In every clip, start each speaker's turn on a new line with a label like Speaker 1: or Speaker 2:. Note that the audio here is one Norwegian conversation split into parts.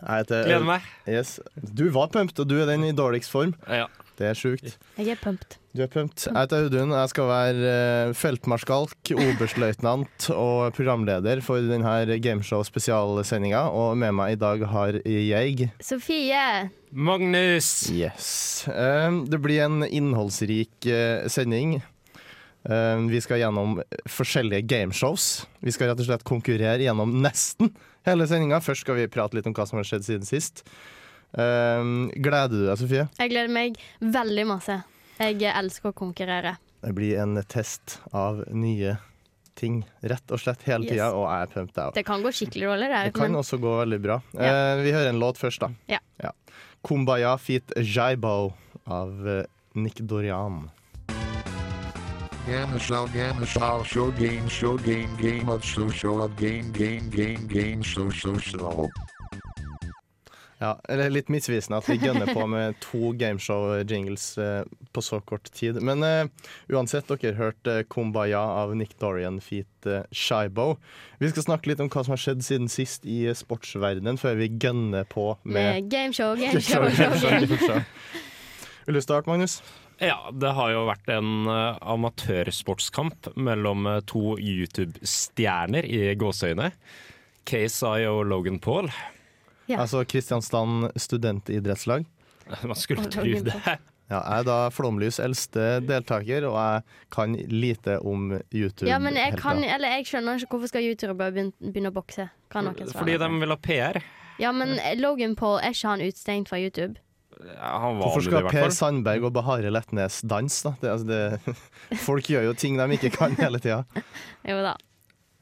Speaker 1: Jeg heter-
Speaker 2: Gleder meg.
Speaker 1: Yes. Du var pumped, og du er den i dårligst form.
Speaker 2: Ja.
Speaker 1: Det er sjukt.
Speaker 3: Jeg er pumped.
Speaker 1: Du er pumped. Jeg heter Audun. Jeg skal være eh, feltmarskalk, oberstløytnant og programleder for denne gameshow-spesialsendinga, og med meg i dag har jeg
Speaker 3: Sofie!
Speaker 2: Magnus.
Speaker 1: Yes. Ehm, det blir en innholdsrik eh, sending. Ehm, vi skal gjennom forskjellige gameshows. Vi skal rett og slett konkurrere gjennom nesten hele sendinga. Først skal vi prate litt om hva som har skjedd siden sist. Ehm, gleder du deg, Sofie?
Speaker 3: Jeg gleder meg veldig masse. Jeg elsker å konkurrere.
Speaker 1: Det blir en test av nye ting, rett og slett, hele
Speaker 3: Yes.
Speaker 1: tida, og jeg er pumped, jeg òg.
Speaker 3: Det kan gå skikkelig dårlig.
Speaker 1: Det
Speaker 3: Der,
Speaker 1: kan
Speaker 3: men
Speaker 1: også gå veldig bra.
Speaker 3: Ja.
Speaker 1: Eh, vi hører en låt først, da.
Speaker 3: Ja.
Speaker 1: Kumbaya Fit Jaibo av eh, Nick Dorian.
Speaker 4: Game show, game show, show game, show game, game of show, show of game, game, game, game, show, show, show.
Speaker 1: Ja, eller litt misvisende at vi gønner på med to gameshow-jingles eh, på så kort tid. Men eh, uansett, dere hørte Kumbaya av Nick Dorian feat eh, Shibo. Vi skal snakke litt om hva som har skjedd siden sist i eh, sportsverdenen, før vi gønner på med
Speaker 3: med gameshow, gameshow, gameshow.
Speaker 1: gameshow. Vil du starte, Magnus?
Speaker 2: Ja, det har jo vært en eh, amatørsportskamp mellom eh, to YouTube-stjerner i gåseøyne. KSI og Logan Paul.
Speaker 3: Ja.
Speaker 1: Altså Kristiansand studentidrettslag.
Speaker 2: Man skulle
Speaker 3: Og
Speaker 2: tro
Speaker 3: Logan
Speaker 2: det.
Speaker 1: Ja, jeg er da Flomlys eldste deltaker, og jeg kan lite om YouTube.
Speaker 3: Ja, men jeg,
Speaker 1: helt
Speaker 3: kan,
Speaker 1: da.
Speaker 3: eller jeg skjønner ikke hvorfor skal youtubere begyn- begynne å bokse. Kan noen svare?
Speaker 2: Fordi de vil ha PR.
Speaker 3: Ja, men Logan Paul, er ikke han utestengt fra YouTube?
Speaker 2: Ja, han var
Speaker 1: Hvorfor
Speaker 2: det i
Speaker 1: skal Per
Speaker 2: hvert fall.
Speaker 1: Sandberg og Bahareh Letnes danse, da? Det, altså, det, folk gjør jo ting de ikke kan hele tida.
Speaker 3: Jo da.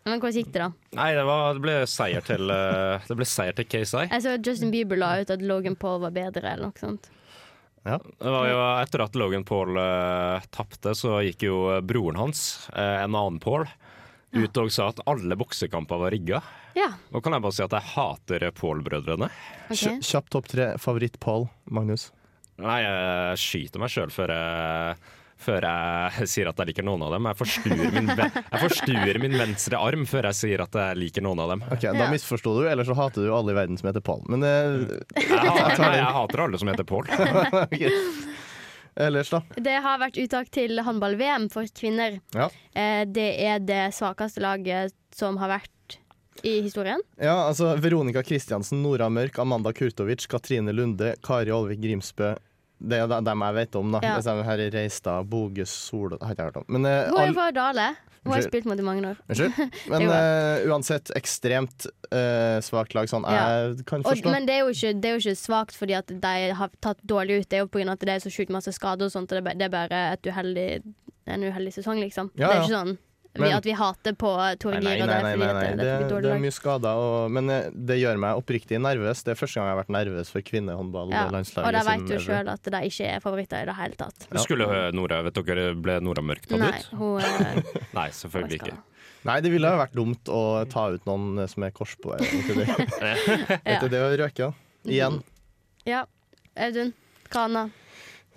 Speaker 3: Men hvordan gikk det, da?
Speaker 2: Nei, det, var, det ble seier til, eh, det ble seier til KSI.
Speaker 3: Jeg så at Justin Bieber la ut at Logan Paul var bedre, eller noe sånt.
Speaker 2: Det var jo, etter at Logan Paul uh, tapte, så gikk jo broren hans, eh, en annen Paul, ut og sa at alle boksekamper var rigga.
Speaker 3: Ja,
Speaker 2: Nå kan jeg bare si at jeg hater Paul-brødrene.
Speaker 3: OK.
Speaker 1: Kjapp topp tre favoritt-Paul, Magnus.
Speaker 2: Nei, jeg skyter meg sjøl før jeg før jeg sier at jeg liker noen av dem. Jeg forstuer, min, ve- jeg forstuer min venstre arm før jeg sier at jeg liker noen av dem.
Speaker 1: Ok, Da
Speaker 3: Ja. Mm.
Speaker 1: misforsto du, eller så hater du alle i verden som heter Paul. Men eh,
Speaker 2: Jeg hater, nei, jeg hater alle som heter Pål.
Speaker 1: ok. Ellers, da?
Speaker 3: Det har vært uttak til håndball-VM for kvinner.
Speaker 1: Ja.
Speaker 3: Eh, Det er det svakeste laget som har vært i historien.
Speaker 1: ja, altså Veronica Kristiansen, Nora Mørk, Amanda Kurtovic, Katrine Lunde, Kari Olvik Grimsbø. Det er de- dem jeg vet om, da.
Speaker 3: Ja.
Speaker 1: Disse her er Reistad, Boge, Sol Har ikke jeg hørt om. Men eh,
Speaker 3: Hun er
Speaker 1: all-
Speaker 3: jo fra Dale. Hun har
Speaker 1: Unnskyld.
Speaker 3: spilt mot i mange år.
Speaker 1: Unnskyld. Men
Speaker 3: Jo da.
Speaker 1: eh, uansett, ekstremt eh, svakt lag. Sånn
Speaker 3: Ja.
Speaker 1: jeg kan
Speaker 3: Og,
Speaker 1: forstå.
Speaker 3: men det er, jo ikke, det er jo ikke svakt fordi at de har tatt dårlig ut. Det er jo pga. at det er så sjukt masse skader og sånt, og det er ba- det er bare et uheldig, en uheldig sesong, liksom.
Speaker 1: Ja,
Speaker 3: Det er
Speaker 1: ja.
Speaker 3: ikke sånn vi,
Speaker 1: Men-
Speaker 3: at vi hater på Tore
Speaker 1: Nei,
Speaker 3: Gier og
Speaker 1: nei,
Speaker 3: det
Speaker 1: nei,
Speaker 3: fordi
Speaker 1: nei,
Speaker 3: at
Speaker 1: nei.
Speaker 3: det,
Speaker 1: Det,
Speaker 3: det er et
Speaker 1: det
Speaker 3: dårlig
Speaker 1: er
Speaker 3: lag.
Speaker 1: mye skader, og, men eh, det gjør meg oppriktig nervøs. Det er første gang jeg har vært nervøs for
Speaker 3: Ja.
Speaker 1: kvinnehåndball-landslaget.
Speaker 3: Og der vet du
Speaker 1: siden-
Speaker 3: sjøl at de ikke er favoritter i det hele tatt.
Speaker 2: Skulle eh, Nora, vet dere, ble Nora Mørk tatt
Speaker 3: Nei,
Speaker 2: ut?
Speaker 3: hun eh,
Speaker 2: Nei, selvfølgelig ikke.
Speaker 3: Hva
Speaker 1: Nei, det ville jo vært dumt å ta ut noen eh, som er kors på vei. Etter det, etter det å røke,
Speaker 3: Mhm.
Speaker 1: da. Igjen.
Speaker 3: Ja. Audun, hva annet?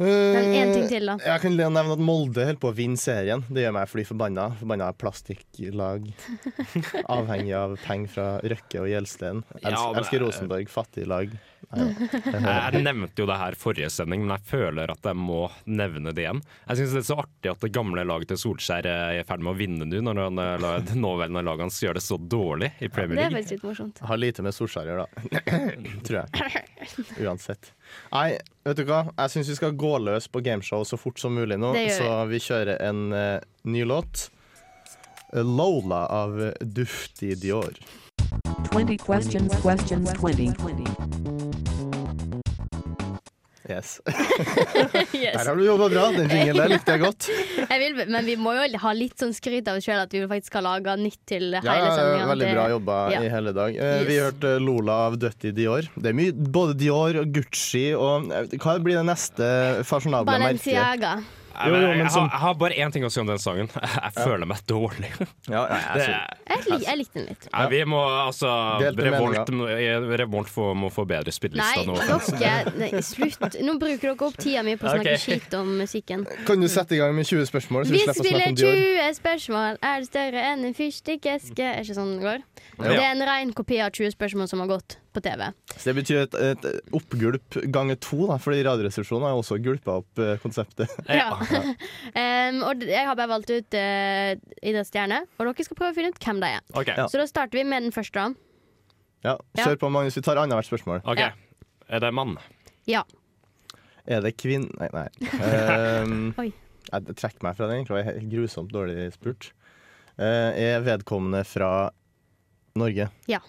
Speaker 1: Men
Speaker 3: en ting til, da.
Speaker 1: Eh, Jeg kan nevne at Molde holder på å vinne serien. Det gjør meg fly forbanna. Forbanna plastikklag. Avhengig av penger fra Røkke og Gjelsten. Elsker,
Speaker 2: Ja, men-
Speaker 1: elsker Rosenborg. Fattig lag.
Speaker 2: Jeg nevnte jo det her forrige sending, men jeg føler at jeg må nevne det igjen. Jeg syns det er så artig at det gamle laget til Solskjær eh, er i ferd med å vinne nå, når han, eh, la- det nåværende laget hans gjør det så dårlig i Premier
Speaker 3: Det er
Speaker 2: League.
Speaker 3: faktisk litt morsomt.
Speaker 1: Har lite med Solskjær å gjøre, da. Tror jeg. Uansett. Nei, vet du hva? Jeg syns vi skal gå løs på gameshow så fort som mulig nå,
Speaker 3: Det gjør vi.
Speaker 1: så vi kjører en eh, ny låt. Lola av Dufti Dior.
Speaker 5: 20 questions, questions 20.
Speaker 1: Yes. Der
Speaker 3: Yes.
Speaker 1: har du jobba bra. Den jingelen der likte jeg godt.
Speaker 3: Jeg vil, men vi må jo ha litt sånn skryt av oss sjøl at vi faktisk har laga nytt til
Speaker 1: Ja,
Speaker 3: hele sendinga.
Speaker 1: veldig bra jobba
Speaker 3: ja.
Speaker 1: i hele dag. Eh, Vi
Speaker 3: Yes.
Speaker 1: hørte Lola av Dutty Dior. Det er mye både Dior og Gucci og eh, Hva blir det neste fasjonable merket?
Speaker 3: Balenciaga.
Speaker 1: Jo, jo, men
Speaker 2: jeg, har,
Speaker 1: som-
Speaker 2: jeg har bare én ting å si om den sangen. Jeg føler meg dårlig.
Speaker 1: Ja, ja, jeg
Speaker 2: Det,
Speaker 1: synes-
Speaker 3: Jeg, lik, jeg likte den litt.
Speaker 2: Nei, vi må altså
Speaker 1: Delte
Speaker 2: Revolt, eh, Revolt får- må få bedre
Speaker 3: Nei,
Speaker 2: spillelista nå.
Speaker 3: dere, nei, slutt. Nå bruker dere opp tida mi på å snakke
Speaker 2: Ok.
Speaker 3: skit om musikken.
Speaker 1: Kan du sette i gang med 20 spørsmål? Så vi
Speaker 3: Vi
Speaker 1: slipper å snakke
Speaker 3: spiller
Speaker 1: om Dior
Speaker 3: 20 spørsmål. Er det større enn en fyrstikkeske? Er ikke sånn det går? Det er en ren kopi av 20 spørsmål som har gått på TV.
Speaker 1: Så Det betyr et, et oppgulp ganger to, da, fordi Radioresepsjonen har også gulpa opp eh, konseptet.
Speaker 3: Ja. Em, og d- jeg har bare valgt ut uh, idrettsstjerner, og dere skal prøve å finne ut hvem de er.
Speaker 2: Ok,
Speaker 1: Ja.
Speaker 3: Så da starter vi med den første. da.
Speaker 1: Ja,
Speaker 3: Ja.
Speaker 1: Kjør på, Magnus. Vi tar annethvert spørsmål.
Speaker 2: ok.
Speaker 3: Ja.
Speaker 2: Er det en mann?
Speaker 3: Ja.
Speaker 1: Er det kvinn... Nei, nei. Ehm,
Speaker 3: Oi.
Speaker 1: jeg trekker meg fra den, egentlig. Det var helt grusomt dårlig spurt. Eh, er vedkommende fra Norge?
Speaker 3: Ja.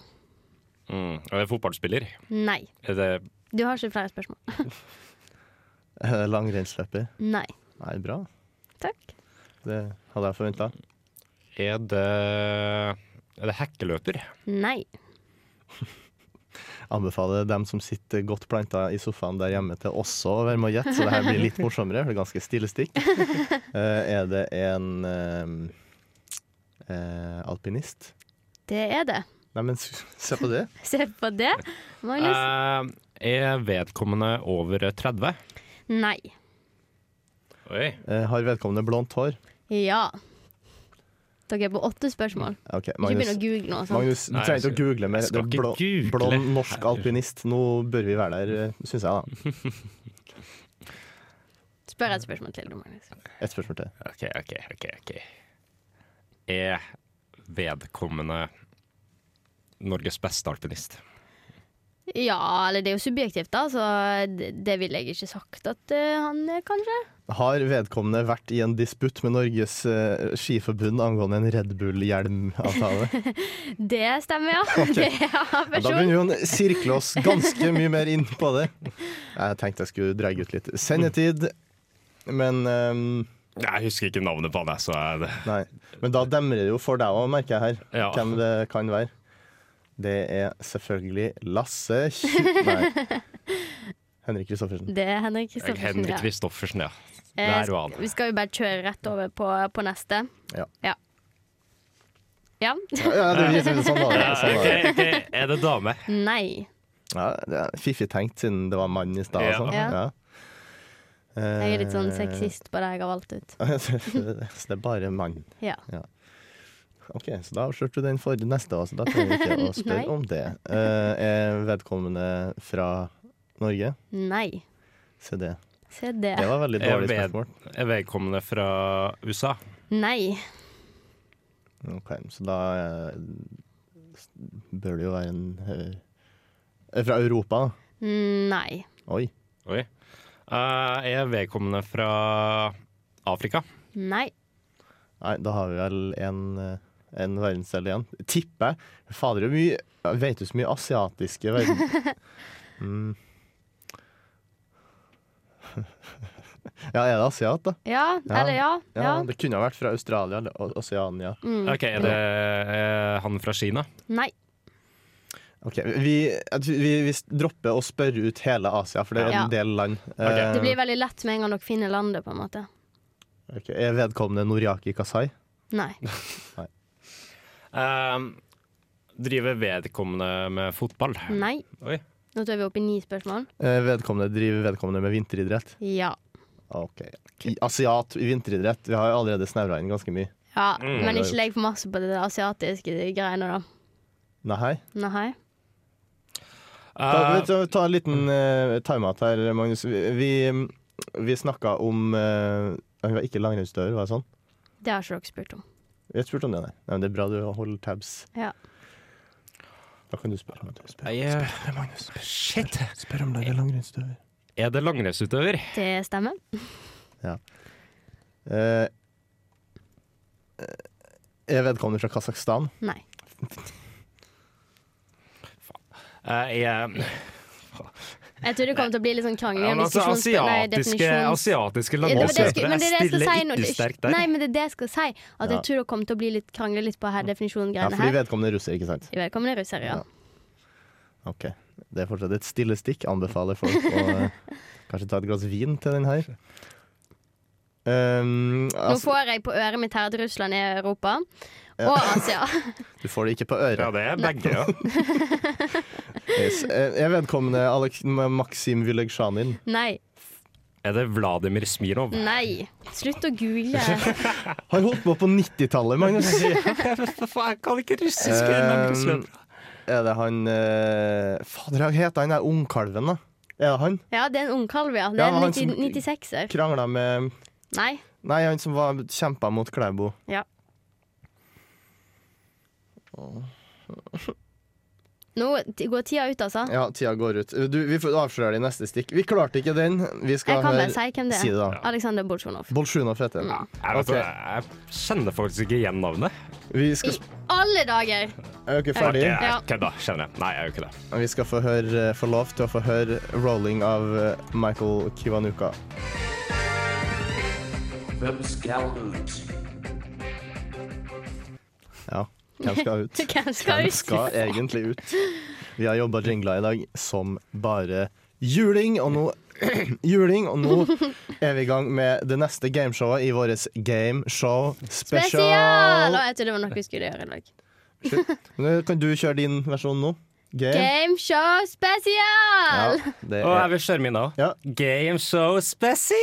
Speaker 2: Mm. Er det fotballspiller?
Speaker 3: Nei.
Speaker 2: Er det
Speaker 3: Du har ikke flere spørsmål.
Speaker 1: Er det langrennsløper?
Speaker 3: Nei.
Speaker 1: Nei, bra.
Speaker 3: Takk.
Speaker 1: Det hadde jeg forventa.
Speaker 2: Er det, er det hekkeløper?
Speaker 3: Nei.
Speaker 1: Anbefaler dem som sitter godt planta i sofaen der hjemme til også å være med og gjette, så det her blir litt morsommere, for det er ganske stille stikk. Eh, er det en eh, eh, alpinist?
Speaker 3: Det er det.
Speaker 1: Nei, men s- se på det.
Speaker 3: Se på det. Magnus.
Speaker 2: Eh, er vedkommende over 30?
Speaker 3: Nei.
Speaker 2: Oi.
Speaker 1: Eh, har vedkommende blondt hår?
Speaker 3: Ja. Dere er på åtte spørsmål.
Speaker 1: Ok,
Speaker 3: Ikke begynn
Speaker 1: Magnus.
Speaker 3: å google nå. sant?
Speaker 1: Magnus, du
Speaker 2: Nei,
Speaker 1: trenger ikke
Speaker 2: jeg
Speaker 1: å google mer.
Speaker 2: jeg
Speaker 1: Det
Speaker 2: skal
Speaker 1: er
Speaker 2: ikke
Speaker 1: blå,
Speaker 2: google.
Speaker 1: blond norsk alpinist. Nå bør vi være der, eh, syns jeg, da.
Speaker 3: Spør et spørsmål til, du, Magnus.
Speaker 1: Et spørsmål til.
Speaker 2: OK, OK, OK. ok. Er vedkommende Norges beste alpinist?
Speaker 3: Ja, eller det er jo subjektivt, da, så det, det ville jeg ikke sagt at eh, han er, kanskje.
Speaker 1: Har vedkommende vært i en disputt med Norges eh, skiforbund angående en Red Bull-hjelmavtale?
Speaker 3: Det stemmer, ja. Det er han
Speaker 1: Ja, Da
Speaker 3: person.
Speaker 1: begynner vi å sirkle oss ganske mye mer inn på det. Jeg tenkte jeg skulle dra ut litt sendetid, men ehm,
Speaker 2: Jeg husker ikke navnet på han, jeg, så jeg
Speaker 1: Nei. Men da demrer det jo for deg òg, merker jeg her,
Speaker 2: Ja.
Speaker 1: hvem det kan være. Det er selvfølgelig Lasse Kj... Nei. Henrik Kristoffersen.
Speaker 3: Det er Henrik
Speaker 2: jeg,
Speaker 3: Kristoffersen.
Speaker 2: Henrik
Speaker 3: ja.
Speaker 2: Kristoffersen, ja.
Speaker 3: Eh,
Speaker 2: Der var
Speaker 3: sk-
Speaker 2: han.
Speaker 3: Vi skal jo bare kjøre rett over på, på neste.
Speaker 1: Ja.
Speaker 3: Ja. Ja.
Speaker 1: Ja, det blir sånn, sånn var det. Sånn var det.
Speaker 2: Ok, ok, Er det dame?
Speaker 3: Nei.
Speaker 1: Ja, det er fiffig tenkt, siden det var mann i stad. og sånn.
Speaker 3: Ja.
Speaker 1: Ja.
Speaker 3: Jeg er litt
Speaker 1: Eh.
Speaker 3: sånn sexist på det jeg har valgt ut.
Speaker 1: Så det er bare mann.
Speaker 3: Ja.
Speaker 1: Ok, så da avslørte du den for neste år, så da trenger vi ikke å spørre
Speaker 3: Nei.
Speaker 1: om det. Eh, er vedkommende fra Norge?
Speaker 3: Nei.
Speaker 1: Se det.
Speaker 3: Se det.
Speaker 1: Det var veldig
Speaker 2: Er,
Speaker 1: dårlig
Speaker 2: ved,
Speaker 1: spørsmål.
Speaker 2: er vedkommende fra USA?
Speaker 3: Nei.
Speaker 1: Ok, så da eh, s- bør det jo være en eh, eh, Fra Europa, da.
Speaker 3: Nei.
Speaker 1: Oi.
Speaker 2: Oi. Eh, er vedkommende fra Afrika?
Speaker 3: Nei.
Speaker 1: Nei, da har vi vel en, eh, en verdensdel igjen. Tipper jeg. Fader, det er mye jeg Vet du så mye asiatiske verden... Mm. Ja, er det asiat, da?
Speaker 3: Ja, eller ja.
Speaker 1: Ja,
Speaker 3: Ja.
Speaker 1: Det kunne ha vært fra Australia eller O- Oseania.
Speaker 3: Mm.
Speaker 2: Ok, Er det eh, han fra Kina?
Speaker 3: Nei.
Speaker 1: Ok, vi, jeg tror vi, vi dropper å spørre ut hele Asia, for det er
Speaker 3: Ja.
Speaker 1: en del land.
Speaker 3: Det
Speaker 1: Eh,
Speaker 3: blir veldig lett med en gang dere finner landet, på en måte.
Speaker 1: ok, Er vedkommende Noriaki Kasai?
Speaker 3: Nei.
Speaker 2: Eh, driver vedkommende med fotball?
Speaker 3: Nei.
Speaker 2: Oi.
Speaker 3: Nå tror jeg vi er oppe i ni spørsmål.
Speaker 1: Eh, vedkommende driver vedkommende med vinteridrett?
Speaker 3: Ja.
Speaker 1: Ok. I- Asiat i vinteridrett. Vi har jo allerede snevra inn ganske mye.
Speaker 3: ja
Speaker 2: Mm.
Speaker 3: men ikke legg for masse på det der asiatiske greiene, da.
Speaker 1: Nei.
Speaker 3: Nei.
Speaker 1: Ta,
Speaker 2: Eh,
Speaker 1: vet du, ta en liten uh, timeout her, Magnus. Vi, vi, vi snakka om eh, Han var ikke langrennsdører, var det sånn?
Speaker 3: Det har ikke dere spurt om.
Speaker 1: Jeg spurte om det, nei. nei men det er bra du holder tabs.
Speaker 3: Ja.
Speaker 1: Da kan du spørre. Magnus. Spør,
Speaker 2: Jeg, eh,
Speaker 1: spør, Magnus.
Speaker 2: shit!
Speaker 1: spør om det er langrennsdører.
Speaker 2: Er det langrennsutøver?
Speaker 3: Det stemmer.
Speaker 1: Eh, er vedkommende fra Kasakhstan?
Speaker 3: Nei.
Speaker 2: Eh, er
Speaker 3: Jeg tror det kommer til å bli litt sånn krangling.
Speaker 2: Ja,
Speaker 3: om
Speaker 2: men altså,
Speaker 3: diskusjons- nei,
Speaker 2: asiatiske,
Speaker 3: definisjons-
Speaker 2: asiatiske
Speaker 3: Ja, det var det jeg
Speaker 2: langhoppsøkere
Speaker 3: skulle- men det er det jeg skal
Speaker 2: stiller
Speaker 3: si nå.
Speaker 2: ikke sterkt der.
Speaker 3: Nei, men det er det jeg skal si. At
Speaker 1: Ja.
Speaker 3: jeg tror det kommer til å bli litt krangle litt på her
Speaker 1: Ja,
Speaker 3: definisjonsgreiene
Speaker 1: fordi
Speaker 3: her.
Speaker 1: vedkommende er russer, ikke sant?
Speaker 3: I velkommen i russere, ja.
Speaker 1: Ok. Det er fortsatt et stille stikk. Anbefaler folk å eh, kanskje ta et glass vin til den her. Um,
Speaker 3: Nå
Speaker 1: altså,
Speaker 3: får jeg på øret mitt her at Russland er Europa. altså, Og Asia.
Speaker 1: du får det ikke på øret.
Speaker 2: Ja, det er begge, ja.
Speaker 1: Yes. Eh, Er vedkommende Alek Maksim Vylegsjanin?
Speaker 3: Nei.
Speaker 2: Er det Vladimir Smirov?
Speaker 3: Nei. Slutt å google.
Speaker 1: Har holdt på på 90-tallet, Magnus.
Speaker 2: Jeg kan ikke russisk.
Speaker 1: Um,
Speaker 2: Ehm,
Speaker 1: er det han eh, Fader, hva heter han der ungkalven, da? Er det han?
Speaker 3: Ja, det er en ungkalv, ja. Det
Speaker 1: Ja,
Speaker 3: er en
Speaker 1: han som-
Speaker 3: 90 96-er.
Speaker 1: Krangla med
Speaker 3: Nei.
Speaker 1: Nei, han som var kjempa mot Klæbo.
Speaker 3: Ja. Nå t- går tida ut, altså.
Speaker 1: Ja, tida går ut. Du, vi får avsløre det i neste stikk. Vi klarte ikke den. Vi skal
Speaker 3: Jeg kan bare
Speaker 1: høre-
Speaker 3: si hvem det
Speaker 1: Si
Speaker 3: er.
Speaker 1: det, da.
Speaker 3: Aleksandr Bolsjunov.
Speaker 1: Bolsjunov heter han.
Speaker 2: Jeg, vet,
Speaker 1: Ok.
Speaker 2: jeg kjenner faktisk ikke igjen navnet.
Speaker 1: Vi skal
Speaker 3: I alle dager!
Speaker 1: Er dere
Speaker 2: Ok,
Speaker 1: ferdige?
Speaker 2: jeg
Speaker 3: Ja.
Speaker 2: kødda, kjenner jeg. Nei, jeg er jo ikke det.
Speaker 1: Vi skal få, høre, eh, få lov til å få høre 'Rolling' av eh, Michael Kiwanuka. Ja, hvem skal ut?
Speaker 3: Hvem skal
Speaker 1: Hvem
Speaker 3: ut?
Speaker 1: skal egentlig ut? Vi har jobba jingler i dag som bare juling, og nå Juling, og nå er vi i gang med det neste gameshowet i vårt gameshow
Speaker 3: Spesial!
Speaker 1: special.
Speaker 3: Og jeg tror det var noe vi skulle gjøre i dag.
Speaker 1: Nå Kan du kjøre din versjon nå? Game.
Speaker 3: Gameshow spesial!
Speaker 1: Ja, det
Speaker 2: Å, jeg
Speaker 1: er,
Speaker 2: vil kjøre min òg.
Speaker 1: Ja.
Speaker 2: Game show spesial!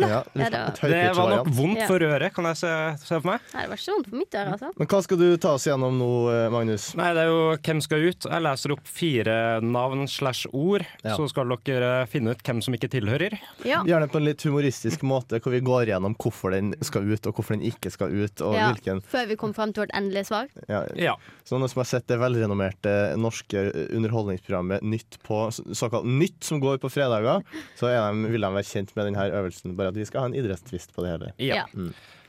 Speaker 1: ja,
Speaker 3: Ja, det var-
Speaker 1: et
Speaker 2: Det
Speaker 1: høypitch
Speaker 2: var
Speaker 1: variant.
Speaker 2: nok vondt
Speaker 3: Ja.
Speaker 2: for øret, kan jeg se, se for meg.
Speaker 3: Nei, det var ikke sånn på mitt øre, altså.
Speaker 1: Men hva skal du ta oss gjennom nå, eh, Magnus?
Speaker 2: Nei, det er jo hvem skal ut. Jeg leser opp fire navn slash ord,
Speaker 1: Ja.
Speaker 2: så skal dere finne ut hvem som ikke tilhører.
Speaker 3: Ja.
Speaker 1: Gjerne på en litt humoristisk måte, hvor vi går gjennom hvorfor den skal ut, og hvorfor den ikke skal ut. Og
Speaker 3: Ja,
Speaker 1: hvilken
Speaker 3: Før vi kom fram til vårt endelige svar.
Speaker 1: ja.
Speaker 2: Ja.
Speaker 1: Så noen som har sett det velrenommerte norske underholdningsprogrammet Nytt på så- såkalt Nytt, som går på fredager, så er de, vil de være kjent med denne øvelsen. Bare at vi skal ha en idrettstvist på det hele.
Speaker 2: ja.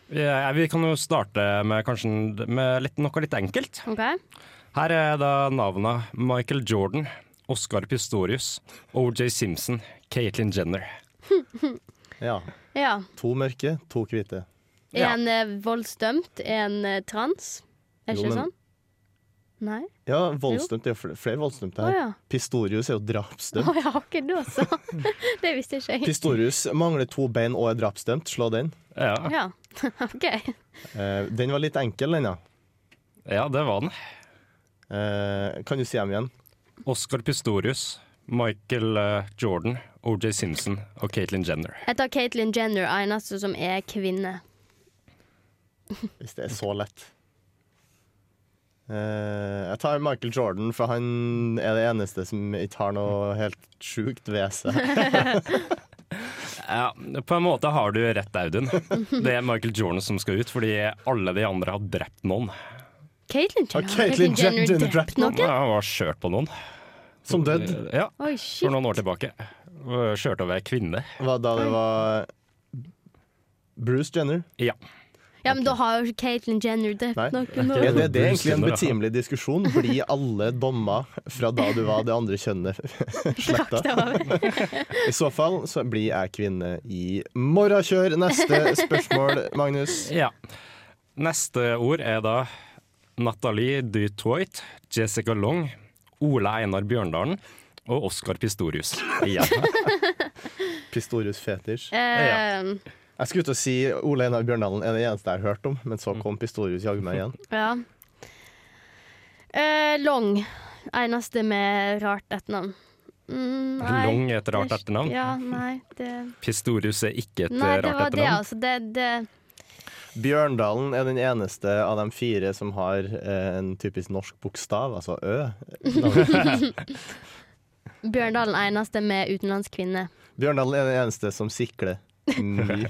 Speaker 3: Ja.
Speaker 2: Eh, Vi kan jo starte med kanskje en- med litt, noe litt enkelt.
Speaker 3: Ok?
Speaker 2: Her er da navnene Michael Jordan, Oscar Pistorius, OJ Simpson, Caitlyn Jenner.
Speaker 1: Ja.
Speaker 3: Ja.
Speaker 1: To mørke, to hvite.
Speaker 2: Ja.
Speaker 3: En eh, voldsdømt, en eh, trans. Er
Speaker 1: Jo,
Speaker 3: ikke det
Speaker 1: men-
Speaker 3: sånn? Nei?
Speaker 1: Ja, voldsdømt. Det er jo fl- flere voldsdømte
Speaker 3: Å
Speaker 1: her.
Speaker 3: ja.
Speaker 1: Pistorius er jo drapsdømt.
Speaker 3: Å ja, ok, da så. Det visste ikke jeg.
Speaker 1: Pistorius mangler to bein og er drapsdømt. Slå den.
Speaker 2: Ja,
Speaker 3: Ja, ok.
Speaker 1: Eh, den var litt enkel, den, ja.
Speaker 2: ja det var den.
Speaker 1: Eh, kan du si dem igjen?
Speaker 2: Oscar Pistorius, Michael eh, Jordan, OJ Simpson og Caitlyn Jenner.
Speaker 3: Jeg tar Caitlyn Jenner, eneste som er kvinne.
Speaker 1: Hvis det er så lett. Eh, jeg tar Michael Jordan, for han er det eneste som ikke har noe helt sjukt ved seg.
Speaker 2: Ja, på en måte har du rett, Audun. Det er Michael Jordan som skal ut, fordi alle de andre har drept noen.
Speaker 3: Caitlyn
Speaker 1: Har
Speaker 3: Jenner, har
Speaker 1: Caitlyn
Speaker 3: Caitlyn Jenner
Speaker 1: Jenner
Speaker 3: drept
Speaker 1: drept
Speaker 2: Han
Speaker 3: noen?
Speaker 2: var kjørt på noen.
Speaker 1: Som død.
Speaker 2: Ja,
Speaker 3: Oi,
Speaker 2: for
Speaker 3: shit.
Speaker 2: noen år tilbake. Kjørt over ei kvinne.
Speaker 1: Hva da det var Bruce Jenner.
Speaker 2: Ja.
Speaker 3: Ja, men da har jo ikke Caitlyn Jenner
Speaker 1: Nei.
Speaker 3: drept noen. nå.
Speaker 1: Er det, det er egentlig en
Speaker 2: Bruce Jenner,
Speaker 1: betimelig diskusjon? Blir alle dommer fra da du var det andre kjønnet slekta?
Speaker 3: Det var vel-
Speaker 1: I så fall så blir jeg kvinne i morgenkjør. Neste spørsmål, Magnus.
Speaker 2: Ja. Neste ord er da Nathalie Dutoit, Jessica Long, Ole Einar Bjørndalen og Oskar Pistorius. Ja.
Speaker 1: Pistorius fetisj.
Speaker 3: Eh,
Speaker 1: Jeg skulle til å si Ole Einar Bjørndalen er det eneste jeg har hørt om, men så kom Pistorius jaggu meg igjen.
Speaker 3: Ja. Eh, Long. Eneste med rart etternavn. Mm, nei.
Speaker 2: Long er et rart
Speaker 3: Det-
Speaker 2: etternavn.
Speaker 3: Ja, nei, det,
Speaker 2: Pistorius er ikke et
Speaker 3: nei,
Speaker 2: eh,
Speaker 3: det var
Speaker 2: rart
Speaker 3: det,
Speaker 2: etternavn.
Speaker 3: altså. Det, det
Speaker 1: Bjørndalen er den eneste av de fire som har eh, en typisk norsk bokstav, altså Ø.
Speaker 3: Bjørndalen eneste med utenlandsk kvinne.
Speaker 1: Bjørndalen er den eneste som sikler. mye.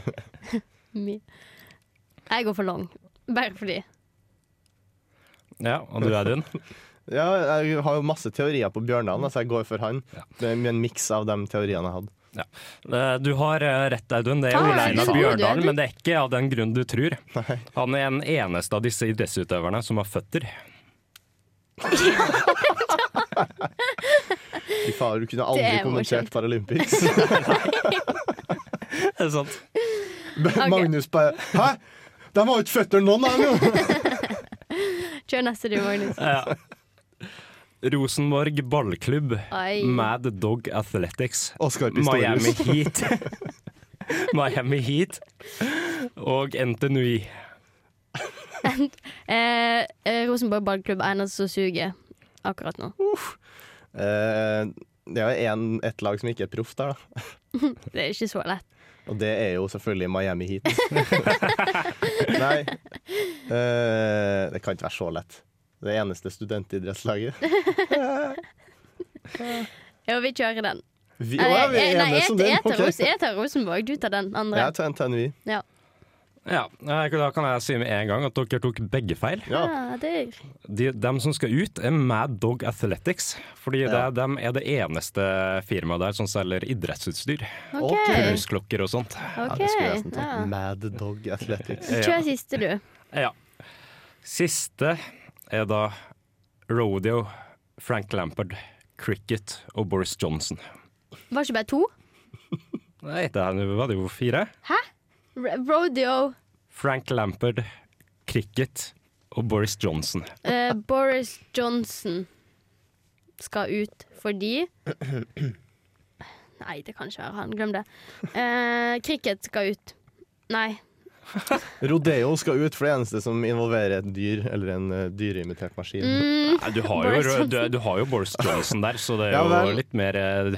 Speaker 3: Mi. Jeg går for Long. Bare fordi.
Speaker 2: Ja, og du Audun?
Speaker 1: Ja, jeg har jo masse teorier på Bjørndalen, altså jeg går for han. Med en miks av de teoriene jeg hadde.
Speaker 2: Ja. Eh, Du har eh, rett, Audun. Det er
Speaker 3: Ah,
Speaker 2: Ole
Speaker 3: er det
Speaker 2: Einar
Speaker 3: så god,
Speaker 2: Bjørndalen,
Speaker 3: Audun?
Speaker 2: men det er ikke av den grunn du tror. Han er den eneste av disse idrettsutøverne som har føtter.
Speaker 1: Fy faen, du kunne
Speaker 3: Det
Speaker 1: aldri
Speaker 3: er
Speaker 1: kommentert
Speaker 3: morsomt.
Speaker 1: Paralympics.
Speaker 2: Er det sant?
Speaker 1: Magnus bare Hæ? De har jo ikke føtter noen av dem, jo!
Speaker 3: Kjør neste du, Magnus.
Speaker 2: Ja. Eh, Rosenborg ballklubb,
Speaker 3: Oi.
Speaker 2: Mad Dog Athletics,
Speaker 1: Oscar
Speaker 2: Miami
Speaker 1: Pistorius.
Speaker 2: Heat. Miami Heat og NTNUI.
Speaker 3: Eh, eh, Rosenborg ballklubb er eneste som suger akkurat nå.
Speaker 1: Eh, det er jo en, et lag som ikke er proff der, da.
Speaker 3: Det er ikke så lett.
Speaker 1: Og det er jo selvfølgelig Miami Heat. Nei, eh, det kan ikke være så lett. Det eneste studentidrettslaget.
Speaker 3: Jo, vi kjører den.
Speaker 1: Vi,
Speaker 3: Eller,
Speaker 1: Å, ja, vi
Speaker 3: jeg-
Speaker 1: er
Speaker 3: nei,
Speaker 1: enige
Speaker 3: jeg,
Speaker 1: som
Speaker 3: jeg,
Speaker 1: den.
Speaker 3: tar
Speaker 1: ok.
Speaker 3: Ros- jeg tar Rosenborg, du tar den andre.
Speaker 1: Jeg tar en TNUI.
Speaker 3: Ja,
Speaker 2: Ja, eh, da kan jeg si med en gang at dere tok begge feil.
Speaker 1: Ja.
Speaker 3: ah, det er
Speaker 2: De, dem som skal ut, er Mad Dog Athletics. Fordi det,
Speaker 1: Ja.
Speaker 2: dem er det eneste firmaet der som selger idrettsutstyr.
Speaker 3: OK.
Speaker 1: Ok.
Speaker 2: Husklokker og sånt.
Speaker 1: Ja,
Speaker 3: Ok,
Speaker 1: det skulle sånn, jeg nesten tatt.
Speaker 3: ja.
Speaker 1: Mad Dog Athletics.
Speaker 3: Kjør siste, du.
Speaker 2: Ja. Siste er da rodeo, Frank Lampard, cricket og Boris Johnson.
Speaker 3: Var ikke bare to?
Speaker 2: Nei, det er, var det jo fire.
Speaker 3: R- Rodeo,
Speaker 2: Frank Lampard, cricket og Boris Johnson.
Speaker 3: eh, Boris Johnson skal ut fordi Nei, det kan ikke være han. Glem det. Eh, cricket skal ut. Nei.
Speaker 1: Rodeo skal ut for det eneste som involverer et dyr eller en eh, dyreimitert maskin.
Speaker 3: Mm,
Speaker 2: Nei, du, har
Speaker 3: Boris
Speaker 2: jo,
Speaker 3: Johnson.
Speaker 2: du, du har jo Boris Johnson der, så det er
Speaker 1: Ja,
Speaker 2: jo
Speaker 1: vel.
Speaker 2: litt mer eh,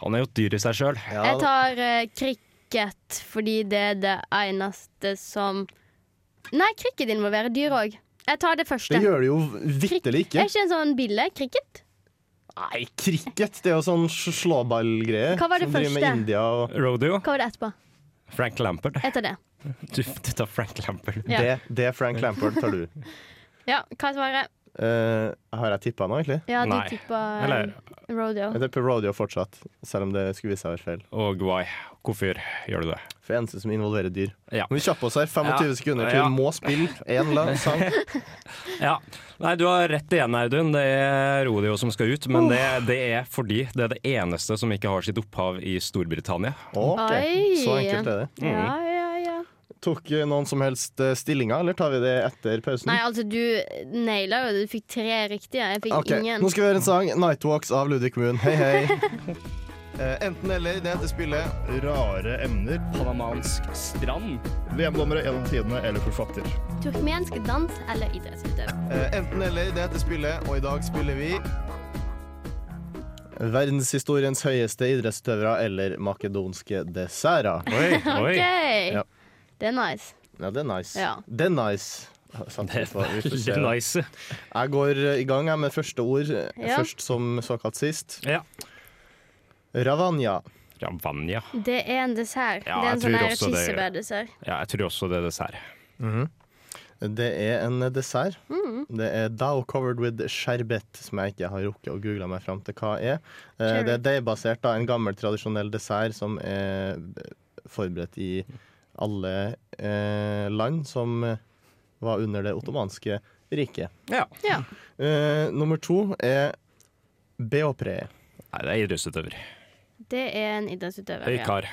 Speaker 2: Han er jo et dyr i seg sjøl.
Speaker 1: Ja, da.
Speaker 3: Jeg tar eh, cricket fordi det er det eneste som Nei, cricket involverer dyr òg. Jeg tar det første.
Speaker 1: det gjør det jo vitterlig
Speaker 3: Er
Speaker 1: ikke.
Speaker 3: ikke en sånn bille? Cricket?
Speaker 1: Nei, cricket! Det er jo sånn sl- slåballgreie.
Speaker 3: Hva var det
Speaker 1: som driver med
Speaker 3: første?
Speaker 1: India og
Speaker 2: Rodeo.
Speaker 3: Hva var det etterpå?
Speaker 2: Frank Lampard.
Speaker 3: Jeg tar det.
Speaker 2: Du, du tar Frank Lampard.
Speaker 3: Ja.
Speaker 1: det, det er Frank Lampard, tar du.
Speaker 3: Ja, hva er svaret?
Speaker 1: Eh, har jeg tippa nå, egentlig?
Speaker 3: Ja, du
Speaker 2: Nei.
Speaker 3: tippa
Speaker 2: Eller-
Speaker 3: rodeo.
Speaker 1: Jeg tipper rodeo fortsatt, selv om det skulle vise seg å være feil.
Speaker 2: Og why? Hvorfor gjør du det?
Speaker 1: For det eneste som involverer dyr.
Speaker 2: Ja.
Speaker 1: Vi kjapper oss her. 25
Speaker 2: Ja.
Speaker 1: sekunder til
Speaker 2: Ja.
Speaker 1: må spille én lang sang.
Speaker 2: Ja. Nei, du har rett igjen, Audun. Det er rodeo som skal ut. Men det, det er fordi det er det eneste som ikke har sitt opphav i Storbritannia.
Speaker 1: Ok,
Speaker 3: Oi.
Speaker 1: Så enkelt er det.
Speaker 3: Ja,
Speaker 2: Mm.
Speaker 3: ja, ja.
Speaker 1: Tok eh, noen som helst eh, stillinger, eller tar vi det etter pausen?
Speaker 3: Nei, altså, du naila jo. Du fikk tre riktige. Jeg fikk
Speaker 1: Ok, Nå
Speaker 3: ingen.
Speaker 1: skal vi høre en sang. 'Nightwalks' av Ludvig Moon. Hei, hei. Eh, Enten eller, det heter spillet.
Speaker 5: Rare emner.
Speaker 2: Panamansk strand.
Speaker 5: VM-dommere gjennom tidene eller forfatter.
Speaker 3: Turkmensk dans eller idrettsutøver?
Speaker 1: Eh, Enten eller, det heter spillet, og i dag spiller vi Verdenshistoriens høyeste idrettsutøvere eller makedonske desserter.
Speaker 2: Oi, oi.
Speaker 3: OK!
Speaker 1: Ja.
Speaker 3: Det er nice.
Speaker 1: Ja, det er nice.
Speaker 3: Ja.
Speaker 1: Det er nice. Satt
Speaker 2: Det
Speaker 1: vi på. Vi får se.
Speaker 2: er nice.
Speaker 1: Jeg går eh, i gang jeg, med første ord, eh,
Speaker 3: Ja.
Speaker 1: først som såkalt sist.
Speaker 2: Ja.
Speaker 1: Ravanja.
Speaker 2: Ravanja.
Speaker 3: Det er en dessert.
Speaker 2: Ja,
Speaker 3: det er
Speaker 2: jeg
Speaker 3: en sånn
Speaker 2: tror
Speaker 3: her
Speaker 2: også det-
Speaker 3: kirsebærdessert.
Speaker 2: Ja, jeg tror også det er dessert.
Speaker 1: Det er en dessert.
Speaker 3: Mm.
Speaker 1: Det er dao covered with sherbet, som jeg ikke har rukket å google meg fram til hva er. Eh, Det er
Speaker 3: Sherbet.
Speaker 1: deigbasert, da, en gammel, tradisjonell dessert som er forberedt i alle eh, land som eh, var under det ottomanske riket.
Speaker 2: Ja.
Speaker 3: Ja.
Speaker 1: Eh, nummer to er beopre.
Speaker 2: Nei, det er idrettsutøver.
Speaker 3: Det er en idrettsutøver.
Speaker 2: Høy
Speaker 3: ja.
Speaker 2: kar.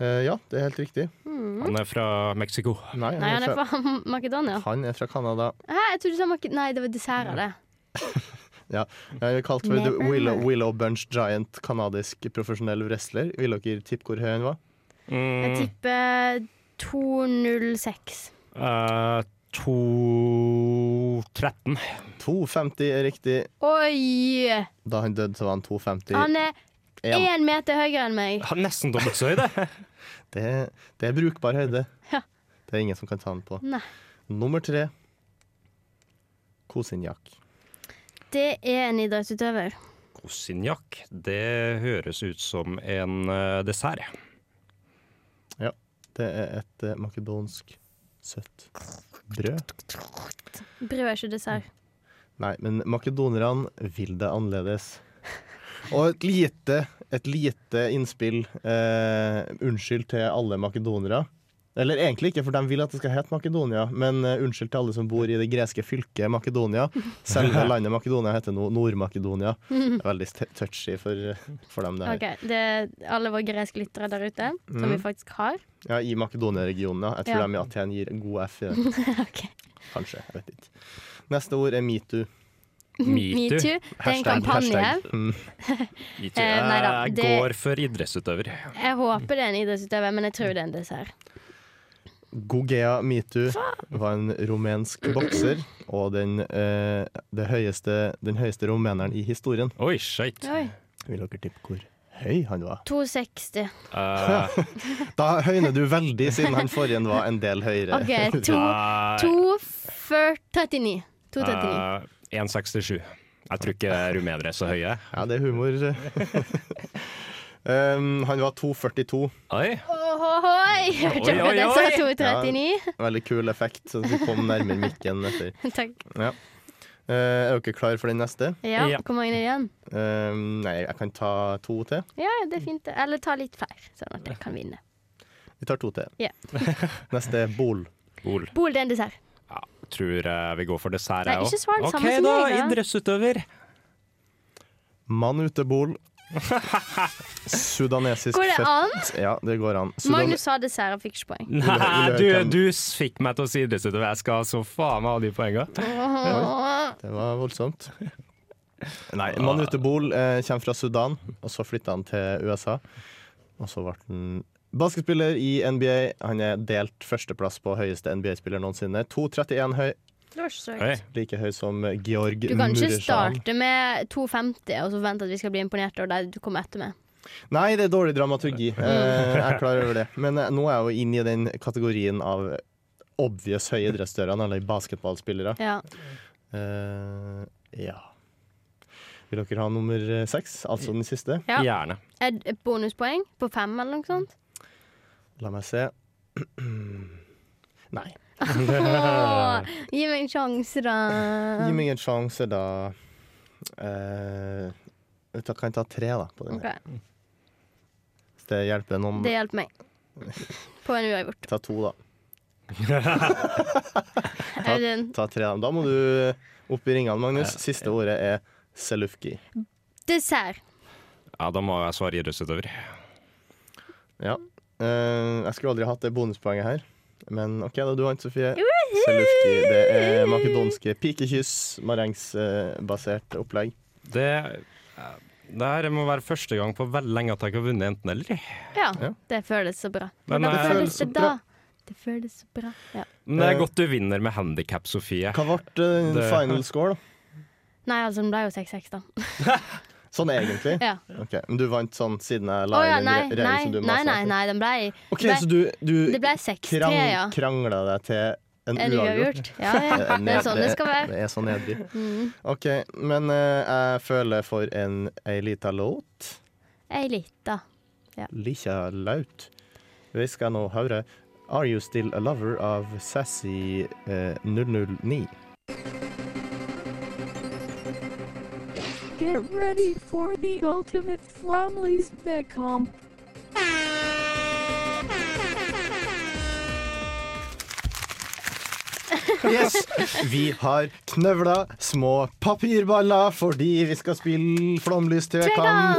Speaker 1: Eh, ja, det er helt riktig.
Speaker 2: Han er fra Mexico.
Speaker 1: Nei,
Speaker 3: Nei, han er fra Makedonia.
Speaker 1: han er fra Canada.
Speaker 3: Hæ, jeg trodde du sa Makedonia. Nei, det var desserter, det.
Speaker 1: Ja, jeg er kalt for The
Speaker 3: Never mind.
Speaker 1: Willow, Willow Bunch Giant, kanadisk profesjonell wrestler. Vil dere tippe hvor høy han var?
Speaker 2: Mm.
Speaker 3: Jeg tipper 206.
Speaker 2: Eh, 213.
Speaker 1: 2,50 er riktig.
Speaker 3: Oi!
Speaker 1: Da han døde, så var han 2,50.
Speaker 3: Han er
Speaker 1: En.
Speaker 3: én meter høyere enn meg.
Speaker 2: Han er Nesten dobbelt så høy, det.
Speaker 1: Det, det er brukbar høyde.
Speaker 3: Ja.
Speaker 1: Det er ingen som kan ta han på.
Speaker 3: Nei.
Speaker 1: Nummer tre kosinjakk.
Speaker 3: Det er en idrettsutøver.
Speaker 2: Kosinjakk, det høres ut som en eh, dessert.
Speaker 1: Ja, det er et eh, makedonsk søtt brød.
Speaker 3: Brød er ikke dessert.
Speaker 1: Nei, men makedonerne vil det annerledes. Og et lite, et lite innspill eh, Unnskyld til alle makedonere. Eller egentlig ikke, for de vil at det skal hete Makedonia. Men eh, unnskyld til alle som bor i det greske fylket Makedonia. Selve landet Makedonia heter nå Nord-Makedonia. Det er Veldig t- touchy for, for dem, det her.
Speaker 3: Ok, det er alle våre greske lyttere der ute, som vi faktisk har.
Speaker 1: Ja, I Makedonia-regionen, ja. Jeg tror
Speaker 3: Ja.
Speaker 1: de i Aten gir en god F i det.
Speaker 3: Ok.
Speaker 1: Kanskje. Jeg vet ikke. Neste ord er metoo.
Speaker 3: Metoo. Det er en
Speaker 1: Hashtag,
Speaker 3: kampanje.
Speaker 1: hashtag. Mm.
Speaker 2: Metoo.
Speaker 3: Eh, nei da,
Speaker 2: Jeg
Speaker 3: det-
Speaker 2: går for idrettsutøver.
Speaker 3: Jeg håper det er en idrettsutøver, men jeg tror det er en dessert.
Speaker 1: Gogea Mitu var en rumensk bokser og den, eh, det høyeste, den høyeste rumeneren i historien.
Speaker 2: Oi, shit.
Speaker 3: Oi.
Speaker 1: Vil dere tippe hvor høy han var?
Speaker 3: 260.
Speaker 2: Eh,
Speaker 1: Da høyner du veldig, siden han forrige var en del høyere.
Speaker 3: OK, to,
Speaker 2: eh,
Speaker 3: to, fyr- 39. 239.
Speaker 2: eh, 1,67. Jeg tror ikke rumenere er så høye.
Speaker 1: Ja, det er humor. um, han var 2,42.
Speaker 2: Oi,
Speaker 3: Ohohoi! Hørte
Speaker 2: Oi,
Speaker 3: dere
Speaker 2: oi,
Speaker 3: det? Jeg sa
Speaker 2: oi.
Speaker 3: 239.
Speaker 1: Veldig kul effekt, så du kom nærmere mikken etter.
Speaker 3: Takk.
Speaker 1: Ja. Eh, er dere klar for den neste?
Speaker 3: Ja,
Speaker 2: Ja.
Speaker 3: hvor mange er det igjen?
Speaker 1: Um, nei, jeg kan ta to til.
Speaker 3: Ja, ja, det er fint. det. Eller ta litt flere, sånn at jeg kan vinne.
Speaker 1: Vi tar to til.
Speaker 3: Ja.
Speaker 1: Neste er bol.
Speaker 2: Bol.
Speaker 3: Bol, det er en dessert.
Speaker 2: Ja, tror jeg vi går for dessert,
Speaker 3: Nei,
Speaker 2: jeg
Speaker 3: ikke
Speaker 2: også.
Speaker 3: svar det samme
Speaker 2: OK,
Speaker 3: som
Speaker 2: da.
Speaker 3: jeg, da.
Speaker 2: Idrettsutøver.
Speaker 1: Mann ute bol. Sudanesisk
Speaker 3: Går det
Speaker 1: fett-
Speaker 3: an?
Speaker 1: Ja, det går an. Sudan-
Speaker 3: Magnus sa dessert og fikk ikke poeng.
Speaker 2: Nei, du,
Speaker 1: Ulle- Ulle-
Speaker 2: du fikk meg til å si idrettsutøver. Jeg skal så faen meg ha de poenga.
Speaker 3: Åh.
Speaker 1: Det var voldsomt. Nei, Mann ute bol eh, kommer fra Sudan, og så flytta han til USA. Og så ble han basketspiller i NBA. Han er delt førsteplass på høyeste NBA-spiller noensinne. 2,31 høy,
Speaker 3: Det var ikke så
Speaker 2: Oi.
Speaker 3: høyt.
Speaker 1: like høy som Georg
Speaker 3: Du kan ikke
Speaker 1: Muresjan.
Speaker 3: starte med 2,50 og så forvente at vi skal bli imponert over det du kommer etter med.
Speaker 1: Nei, det er dårlig dramaturgi.
Speaker 3: Mm.
Speaker 1: Eh, jeg er klar over det. Men eh, nå er jeg jo inne i den kategorien av obvious høye idrettsdørene, eller basketballspillere.
Speaker 3: Ja.
Speaker 1: Eh, ja. Vil dere ha nummer eh, seks, altså den siste?
Speaker 3: Ja.
Speaker 2: Gjerne.
Speaker 3: Et et bonuspoeng på fem eller noe sånt?
Speaker 1: La meg se. Nei.
Speaker 3: Åh, gi meg en sjanse, da.
Speaker 1: Gi
Speaker 3: Um.
Speaker 1: meg en sjanse, da. Eh, vet du, jeg kan ta tre da, på den. her.
Speaker 3: Ok,
Speaker 1: Hvis det hjelper noen.
Speaker 3: Det hjelper meg. På en uavgjort.
Speaker 1: Ta to, da.
Speaker 3: Audun,
Speaker 1: Ta tre, da. da må du opp i ringene, Magnus. Siste ordet er Selufki.
Speaker 3: dessert.
Speaker 2: Ja, da må jeg svare idrettsutøver.
Speaker 1: Ja. Eh, jeg skulle aldri hatt det bonuspoenget her, men OK, da. Du vant, Sofie. Selufki. Det er makedonske pikekyss, marengsbasert opplegg.
Speaker 2: Det eh, det her må være første gang på veldig lenge at jeg ikke har vunnet enten eller.
Speaker 3: Ja,
Speaker 1: Ja.
Speaker 3: det føles så bra.
Speaker 2: Men
Speaker 3: Hvordan
Speaker 2: det
Speaker 3: føles
Speaker 1: føles
Speaker 3: det
Speaker 1: så
Speaker 3: da?
Speaker 1: bra.
Speaker 3: Det føles så bra. Ja.
Speaker 2: Men
Speaker 1: Eh.
Speaker 2: det er godt du vinner med handikap, Sofie.
Speaker 1: Hva ble eh,
Speaker 2: Det-
Speaker 1: final score, da?
Speaker 3: Nei, altså, den ble jo 6-6, da.
Speaker 1: Sånn egentlig?
Speaker 3: Ja.
Speaker 1: Ok, Men du vant sånn siden jeg
Speaker 3: Å
Speaker 1: la
Speaker 3: ja,
Speaker 1: inn
Speaker 3: nei,
Speaker 1: en re- regel
Speaker 3: nei,
Speaker 1: som du
Speaker 3: nei, nei, nei, den ble
Speaker 1: OK,
Speaker 3: Nei,
Speaker 1: så du, du
Speaker 3: Det ble 6-3,
Speaker 1: krang,
Speaker 3: ja.
Speaker 1: krangla deg til en
Speaker 3: En
Speaker 1: uavgjort?
Speaker 3: uavgjort. Ja, ja. Det er sånn det skal være. Mm.
Speaker 1: Det er så nedrig. OK, men eh, jeg føler for en ei lita låt.
Speaker 3: Ei lita.
Speaker 1: Lika laut. Vi skal nå høre Are You Still A Lover av Sassy eh, 009.
Speaker 6: Get ready for the ultimate Flumley's Beckham.
Speaker 1: Yes! Vi har knøvla små papirballer fordi vi skal spille Flomlys til jeg kan.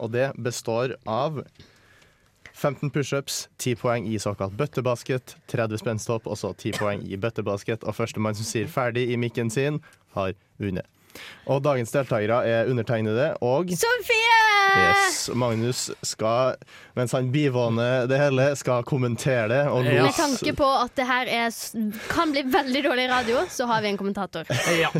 Speaker 1: Og det består av 15 pushups, 10 poeng i såkalt bøttebasket, 30 spensthopp og så 10 poeng i bøttebasket. Og førstemann som sier ferdig i mikken sin, har vunnet. Og dagens deltakere er undertegnede og
Speaker 3: Sofie!
Speaker 1: Yes, Magnus skal, mens han bivåner det hele, skal kommentere det. Og
Speaker 2: Ja.
Speaker 3: Med
Speaker 1: los-
Speaker 3: tanke på at det her er, s- kan bli veldig dårlig radio, så har vi en kommentator.
Speaker 2: Ja.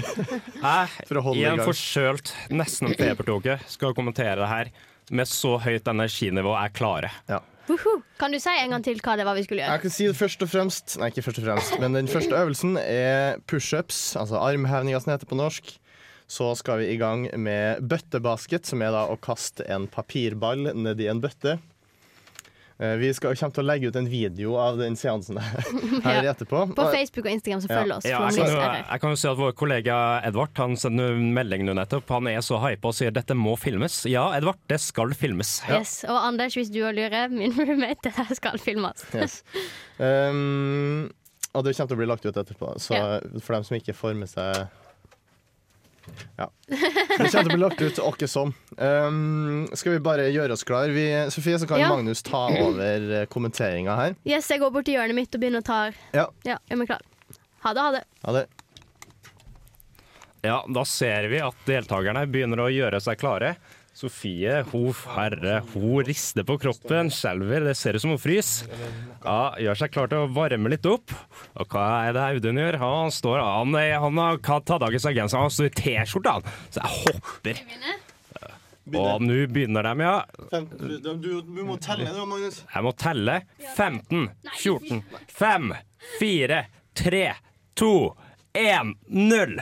Speaker 1: For å holde
Speaker 2: I
Speaker 1: det i
Speaker 2: en
Speaker 1: gang.
Speaker 2: forsølt, nesten febertåke skal kommentere det her med så høyt energinivå jeg klarer.
Speaker 1: Ja.
Speaker 3: Woohoo. Kan du si en gang til hva det var vi skulle
Speaker 1: Jeg
Speaker 3: gjøre?
Speaker 1: kan si det først og fremst Nei, ikke først og fremst, men den første øvelsen er pushups, altså armhevninger som det heter på norsk. Så skal vi i gang med bøttebasket, som er da å kaste en papirball nedi en bøtte. Eh, Vi skal, kommer til å legge ut en video av den seansen her
Speaker 3: Ja.
Speaker 1: etterpå. Eh,
Speaker 3: På Facebook og Instagram, så
Speaker 1: Ja.
Speaker 3: følg oss.
Speaker 2: Ja, jeg,
Speaker 3: Flomlys
Speaker 2: kan jo,
Speaker 3: RR.
Speaker 2: jeg kan jo si at Vår kollega Edvard han sendte jo en melding nå nettopp. Han er så hypa og sier dette må filmes. Ja, Edvard, det skal filmes.
Speaker 3: Yes. Og Anders, hvis du òg lurer, min roommate, det her skal filmes.
Speaker 1: Yes. Um, og det kommer til å bli lagt ut etterpå, så for dem som ikke får med seg Ja. Det kommer til å bli lagt ut åkke som. Um, skal vi bare gjøre oss klar? Vi, Sofie, så kan
Speaker 3: Ja.
Speaker 1: Magnus ta over kommenteringa her.
Speaker 3: Yes, jeg går bort til hjørnet mitt og begynner å ta
Speaker 1: Ja,
Speaker 3: Ja, er vi klar? Ha det, ha det.
Speaker 1: ha det.
Speaker 2: Ja, Da ser vi at deltakerne begynner å gjøre seg klare. Sofie, ho herre, ho rister på kroppen, skjelver, det ser ut som hun fryser. Ja, gjør seg klar til å varme litt opp. Og hva er det Audun gjør? Han står, han, er- han har tatt av seg genseren, han står i T-skjorta, han. så jeg hopper. Og nå begynner de, ja.
Speaker 1: Du, må telle nå, Magnus.
Speaker 2: Jeg må telle. 15, 14, 5, 4, 3, 2, 1, 0.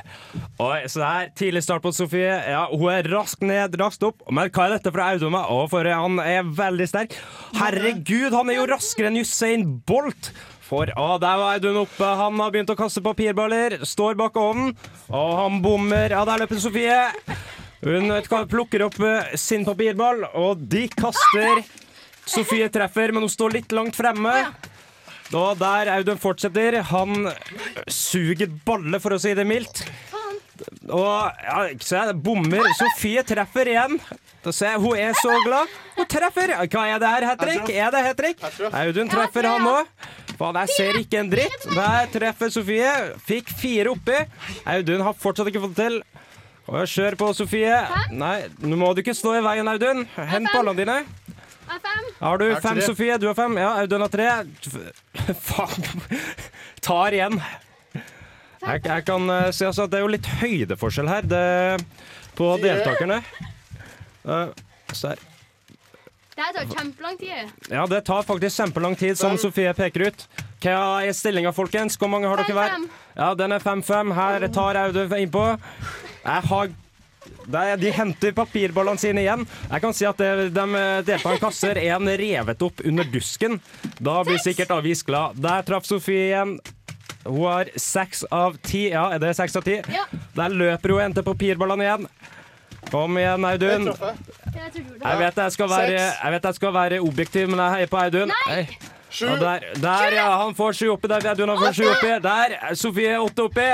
Speaker 2: Oi, så her, tidlig start på Sofie. Ja, hun er raskt ned, raskt opp. Men hva er dette fra Audun? da? Å, for han er veldig sterk. Herregud, han er jo raskere enn Usain Bolt! For å, der var Audun oppe. Han har begynt å kaste papirballer. Står bak ovnen. Og han bommer. Ja, der løper Sofie. Hun vet hva, plukker opp eh, sin papirball, og de kaster. Sofie treffer, men hun står litt langt fremme. Og der Audun fortsetter. Han suger balle, for å si det mildt. Og ja, se, bommer. Sofie treffer igjen. Da ser jeg, Hun er så glad. Hun treffer. Hva er det her, hat trick? Er det hat trick? Audun treffer, han òg. Faen, jeg ser ikke en dritt. Der treffer Sofie. Fikk fire oppi. Audun har fortsatt ikke fått det til. Og Kjør på, Sofie. Nei, nå må du ikke stå i veien, Audun. Hent ballene dine. Har du
Speaker 1: er
Speaker 2: fem,
Speaker 1: tre.
Speaker 2: Sofie? Du har fem. Ja, Audun har tre. F- Faen. Tar igjen. Jeg, jeg kan eh, si altså at det er jo litt høydeforskjell her det, på deltakerne. Eh, så her.
Speaker 3: Det her tar kjempelang tid.
Speaker 2: Ja, det tar faktisk kjempelang tid, som Sofie peker ut. Hva er stillinga, folkens? Hvor mange har dere hver?
Speaker 3: Fem, fem.
Speaker 2: Ja, den er 5-5. Her tar Audun innpå. Jeg har Nei, de henter papirballene sine igjen. Jeg kan si at det- de deltakerne kaster en revet opp under dusken. Da blir sikkert Avis glad. Der traff Sofie igjen. Hun har seks av ti. Ja, er det seks av ti?
Speaker 3: Ja.
Speaker 2: Der løper hun og henter papirballene igjen. Kom igjen, Audun.
Speaker 3: Jeg tror du
Speaker 2: Jeg vet jeg skal være,
Speaker 1: Seks.
Speaker 2: jeg vet jeg skal være objektiv, men jeg heier på Audun. Nei! Ja, der, der ja, han får sju oppi. Der, Audun han får sju oppi. Der, Sofie åtte oppi.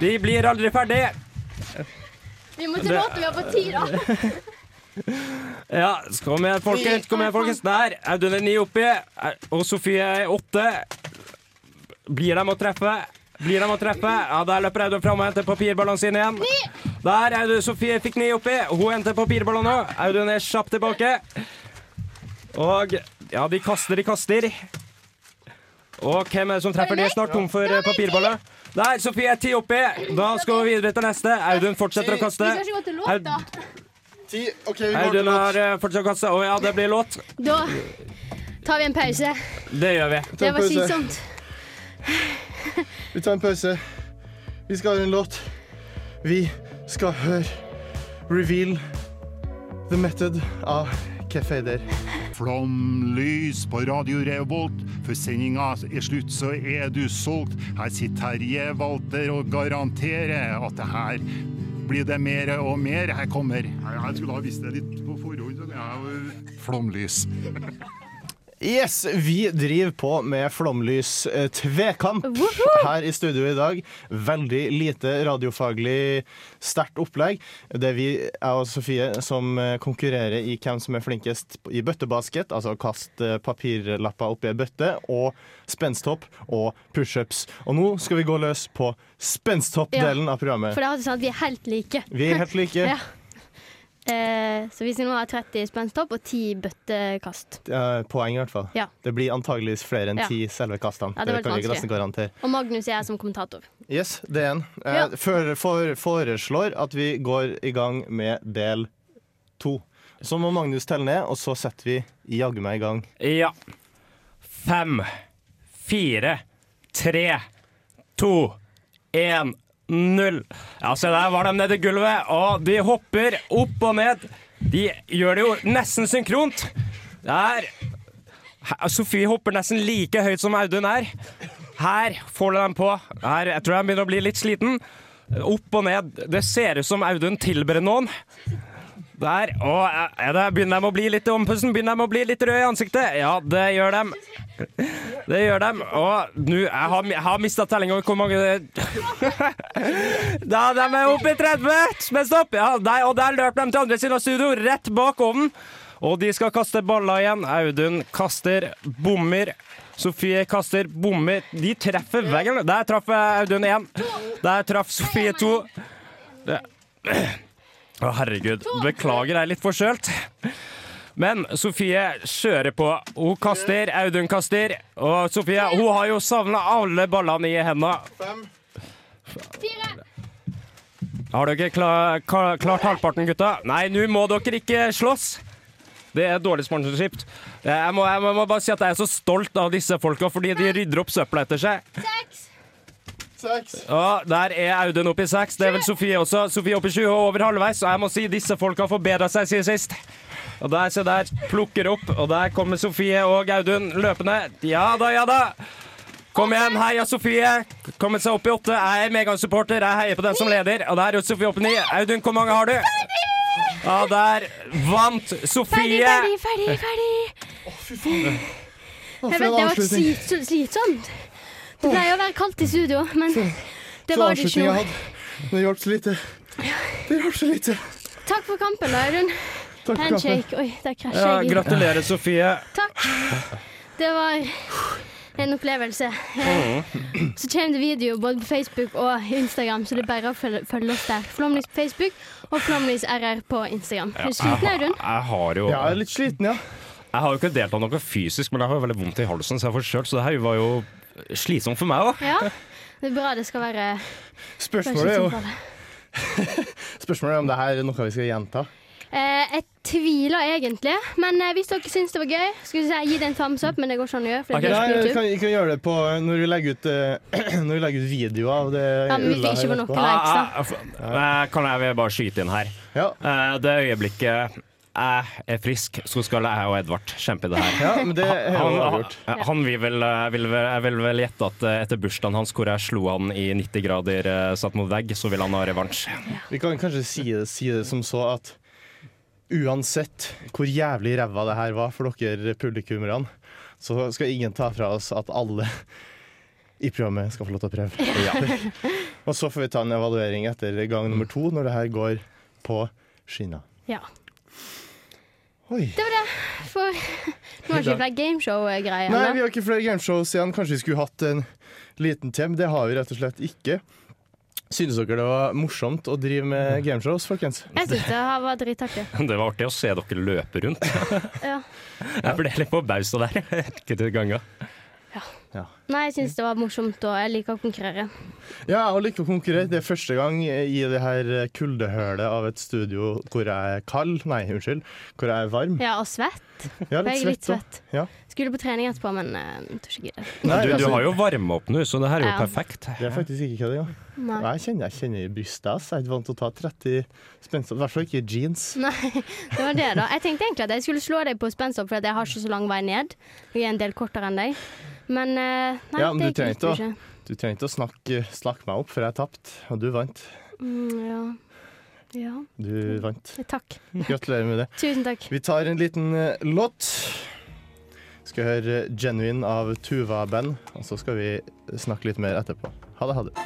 Speaker 2: De blir aldri ferdig.
Speaker 3: Vi må til låten vi har på tid, da.
Speaker 2: Ja, så kom igjen, folkens. Kom igjen, folkens. Der, Audun er ni oppi. Og Sofie er åtte. Blir de å treffe? Blir de å treffe? Ja, der løper Audun fram og henter papirballen sin igjen. Der, Audun, Sofie fikk ni oppi. Hun henter papirballen nå. Audun er kjapt tilbake. Og ja, de kaster, de kaster. Og hvem er det som treffer? De er snart tom for eh, papirballer. Der, Sofie er ti oppi. Da skal vi videre til neste. Audun fortsetter å kaste.
Speaker 3: Vi skal ikke gå til låt, da.
Speaker 1: Ti. OK, vi går til
Speaker 2: Audun
Speaker 1: låt.
Speaker 2: har eh, fortsatt å kaste. Å ja, det blir låt.
Speaker 3: Da tar vi en pause.
Speaker 2: Det gjør vi.
Speaker 3: Det var
Speaker 1: pause.
Speaker 3: slitsomt.
Speaker 1: Vi tar en pause. Vi skal høre en låt. Vi skal høre Reveal The Method av Kefader.
Speaker 5: Flomlys på Radio Revolt, for sendinga er slutt, så er du solgt. Her sitter Terje Walter og garanterer at det her blir det mer og mer. Her kommer Jeg skulle ha visst det litt på forhånd. Flomlys.
Speaker 1: Yes, vi driver på med Flomlys eh, tvekamp her i studio i dag. Veldig lite radiofaglig sterkt opplegg. Det er vi, jeg og Sofie, som eh, konkurrerer i hvem som er flinkest i bøttebasket, altså å kaste eh, papirlapper oppi ei bøtte, og spensthopp og pushups. Og nå skal vi gå løs på spensthopp-delen av
Speaker 3: For
Speaker 1: programmet.
Speaker 3: det er alltid sånn at vi er helt like.
Speaker 1: Vi er helt like.
Speaker 3: Ja. Eh, så hvis vi nå har 30 spensthopp og 10 bøttekast
Speaker 1: Eh, Poeng, i hvert fall.
Speaker 3: Ja.
Speaker 1: Det blir antageligvis flere enn
Speaker 3: Ja.
Speaker 1: ti selve kastene.
Speaker 3: Ja,
Speaker 1: det,
Speaker 3: det var litt
Speaker 1: kan vi ikke
Speaker 3: vanskelig.
Speaker 1: nesten garantere.
Speaker 3: Og Magnus er jeg som kommentator.
Speaker 1: Yes, det er en. Jeg
Speaker 3: Ja.
Speaker 1: føre- for, foreslår at vi går i gang med del to. Så må Magnus telle ned, og så setter vi jaggu meg i gang.
Speaker 2: Ja. Fem, fire, tre, to, én, null. Ja, se der var de nede i gulvet, og de hopper opp og ned. De gjør det jo nesten synkront. Der. Her- Sofie hopper nesten like høyt som Audun er. Her får du den på. Her, jeg tror han begynner å bli litt sliten. Opp og ned. Det ser ut som Audun tilbereder noen. Der. Å, er det, begynner de å bli litt ompusten? Begynner de å bli litt røde i ansiktet? Ja, det gjør dem. Det gjør dem. Og nå Jeg har, jeg har mista tellinga over hvor mange Da, De er oppe i 30, men stopp! Ja, der, og der løp de til andre siden av studio, rett bak ovnen. Og de skal kaste baller igjen. Audun kaster, bommer. Sofie kaster, bommer. De treffer veggen. Der traff Audun én. Der traff Sofie to. Det- Å, herregud. Beklager, jeg er litt forkjølt. Men Sofie kjører på. Hun kaster, Audun kaster. Og Sofie hun har jo savna alle ballene i henda. Har dere kla ka- klart halvparten, gutta? Nei, nå må dere ikke slåss. Det er dårlig sponsorship. Jeg må, jeg må- jeg må bare si at jeg er så stolt av disse folka, fordi de rydder opp søpla etter seg. Og der er Audun oppe i seks. Det er vel Sofie også. Sofie oppe i sju og over halvveis. Og jeg må si disse folka har forbedra seg siden sist. Og der, se der, plukker opp, og der kommer Sofie og Audun løpende. Ja da, ja da. Kom igjen, heia Sofie. Kommer seg opp i åtte. Jeg er medgangssupporter, jeg heier på den som leder. Og der er Sofie opp i ni. Audun, hvor mange har du? Ja, der vant
Speaker 3: Ferdig,
Speaker 2: Sofie.
Speaker 3: ferdig, ferdig! ferdig.
Speaker 7: Å,
Speaker 3: Jeg
Speaker 7: for en
Speaker 3: vet, det var
Speaker 7: avslutning.
Speaker 3: slit, slitsomt. Det pleier å være kaldt i studio, men det var det ikke
Speaker 7: avslutning jeg
Speaker 3: nå.
Speaker 7: hadde. Det hjalp så lite. Det hjalp så lite.
Speaker 3: Takk for kampen, da, Audun.
Speaker 7: Takk for kaffen.
Speaker 3: Handshake. Oi, der krasja
Speaker 2: Ja,
Speaker 3: jeg. i.
Speaker 2: gratulerer, Sofie.
Speaker 3: Takk. Det var en opplevelse.
Speaker 1: Mm.
Speaker 3: Eh, Så kommer det video både på Facebook og Instagram, så det er bare å følge, følge oss der. Flomlys på Facebook og Flomlys RR på Instagram. Er du sliten, Audun?
Speaker 2: Jeg har jo
Speaker 1: Ja, jeg er litt sliten, ja.
Speaker 2: Jeg har jo ikke deltatt noe fysisk, men jeg har jo veldig vondt i halsen, så jeg er forkjølt. Så det her var jo slitsomt for meg, da.
Speaker 3: Ja. Det er bra det skal være
Speaker 1: Spørsmålet er jo spørsmålet er om det her er noe vi skal gjenta.
Speaker 3: Eh, jeg tviler egentlig, men eh, hvis dere syns det var gøy, skulle jeg si, gi det en thumbs up, men det går ikke an å gjøre. For
Speaker 2: Ok,
Speaker 3: det
Speaker 1: Nei,
Speaker 3: blir
Speaker 1: vi
Speaker 3: ikke på YouTube.
Speaker 1: kan, vi kan gjøre det på når vi legger ut, eh, når vi legger ut video av det
Speaker 3: Ja, men vi
Speaker 1: Ulla
Speaker 3: fikk ikke
Speaker 1: har
Speaker 3: på
Speaker 1: gjort
Speaker 3: noe. likes, da.
Speaker 2: Ah, ah, f- eh, Kan jeg vel bare skyte inn her?
Speaker 1: Ja.
Speaker 2: Eh, Det øyeblikket jeg er frisk, så skal jeg og Edvard kjempe i det her.
Speaker 1: ja, men det er jo
Speaker 2: Han, han,
Speaker 1: avgjort.
Speaker 2: han vil vel, eh, vil vel, jeg vil vel gjette at eh, etter bursdagen hans, hvor jeg slo han i 90 grader eh, satt mot vegg, så vil han ha revansj.
Speaker 1: Vi kan kanskje si det, si det som så at uansett hvor jævlig ræva det her var for dere publikummerne, så skal ingen ta fra oss at alle i programmet skal få lov til å prøve. Og så får vi ta en evaluering etter gang nummer to, når det her går på skinna.
Speaker 3: Ja.
Speaker 1: Oi.
Speaker 3: For nå har ikke flere gameshow-greier.
Speaker 1: Nei,
Speaker 3: da.
Speaker 1: vi har ikke flere gameshows igjen. Kanskje vi skulle hatt en liten tem. Det har vi rett og slett ikke. Synes dere det var morsomt å drive med gameshows, folkens?
Speaker 3: Jeg syns det har vært dritartig.
Speaker 2: Det var artig å se dere løpe rundt.
Speaker 3: Ja.
Speaker 2: Jeg ble litt forbausa der. Enkelte ganger.
Speaker 3: Nei, jeg syns det var morsomt, og jeg liker å konkurrere.
Speaker 1: Ja, og like å konkurrere. Det er første gang i det her kuldehølet av et studio hvor jeg er kald, nei, unnskyld, hvor jeg er varm.
Speaker 3: Ja, og svett.
Speaker 1: Jeg er
Speaker 3: For jeg er litt svett.
Speaker 1: også. Ja.
Speaker 3: Skulle på trening etterpå, men eh, jeg tror ikke jeg gidder.
Speaker 1: Nei,
Speaker 2: Du, du
Speaker 1: altså,
Speaker 2: har jo varma opp nå, så det her er jo
Speaker 3: Ja.
Speaker 2: perfekt.
Speaker 1: Det er faktisk ikke kødd engang.
Speaker 3: Nei.
Speaker 1: Jeg kjenner, jeg kjenner i brystet. ass. Jeg er ikke vant til å ta 30 spenster, i hvert fall ikke i jeans.
Speaker 3: Det var det, da. Jeg tenkte egentlig at jeg skulle slå deg på spenstopp, for at jeg har ikke så lang vei ned. Jeg er en del kortere enn deg. Men eh, nei,
Speaker 1: Ja, men
Speaker 3: det
Speaker 1: du trenger
Speaker 3: gikk liksom
Speaker 1: ikke
Speaker 3: ikke.
Speaker 1: Du trenger ikke å snakke, snakke meg opp, for jeg tapte, og du vant.
Speaker 3: Mm, ja. ja. eh,
Speaker 1: Du vant.
Speaker 3: Takk.
Speaker 1: Gratulerer med det.
Speaker 3: Tusen takk.
Speaker 1: Vi tar en liten eh, låt. Skal høre eh, 'Genuine' av Tuva Band, og så skal vi snakke litt mer etterpå. Ha det, ha det.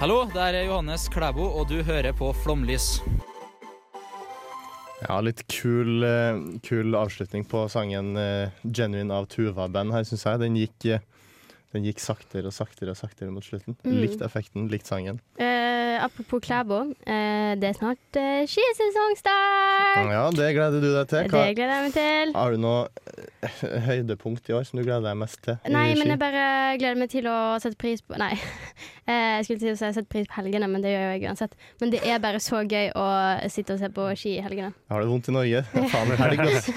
Speaker 8: Hallo, det er Johannes Klæbo, og du hører på Flomlys.
Speaker 1: Ja, litt kul, eh, kul avslutning på sangen eh, 'Genuine' av Tuva Band her, syns jeg. Den gikk, eh, den gikk saktere og saktere og saktere mot slutten.
Speaker 3: Mm.
Speaker 1: Likt effekten, likt sangen.
Speaker 3: Eh, apropos Klæbo, eh, det er snart uh, skisesongstart!
Speaker 1: Ja, det gleder du deg til.
Speaker 3: Det
Speaker 1: Hva,
Speaker 3: gleder jeg meg til.
Speaker 1: har du noe eh, høydepunkt i år som du gleder deg mest til? i
Speaker 3: Nei,
Speaker 1: ski?
Speaker 3: men jeg bare gleder meg til å sette pris på Nei, Eh, jeg skulle til å si sette pris på helgene, men det gjør jo jeg uansett. Men det er bare så gøy å sitte og se på ski i helgene.
Speaker 1: Jeg har det vondt i Norge. Ja, faen, det er helg, ass.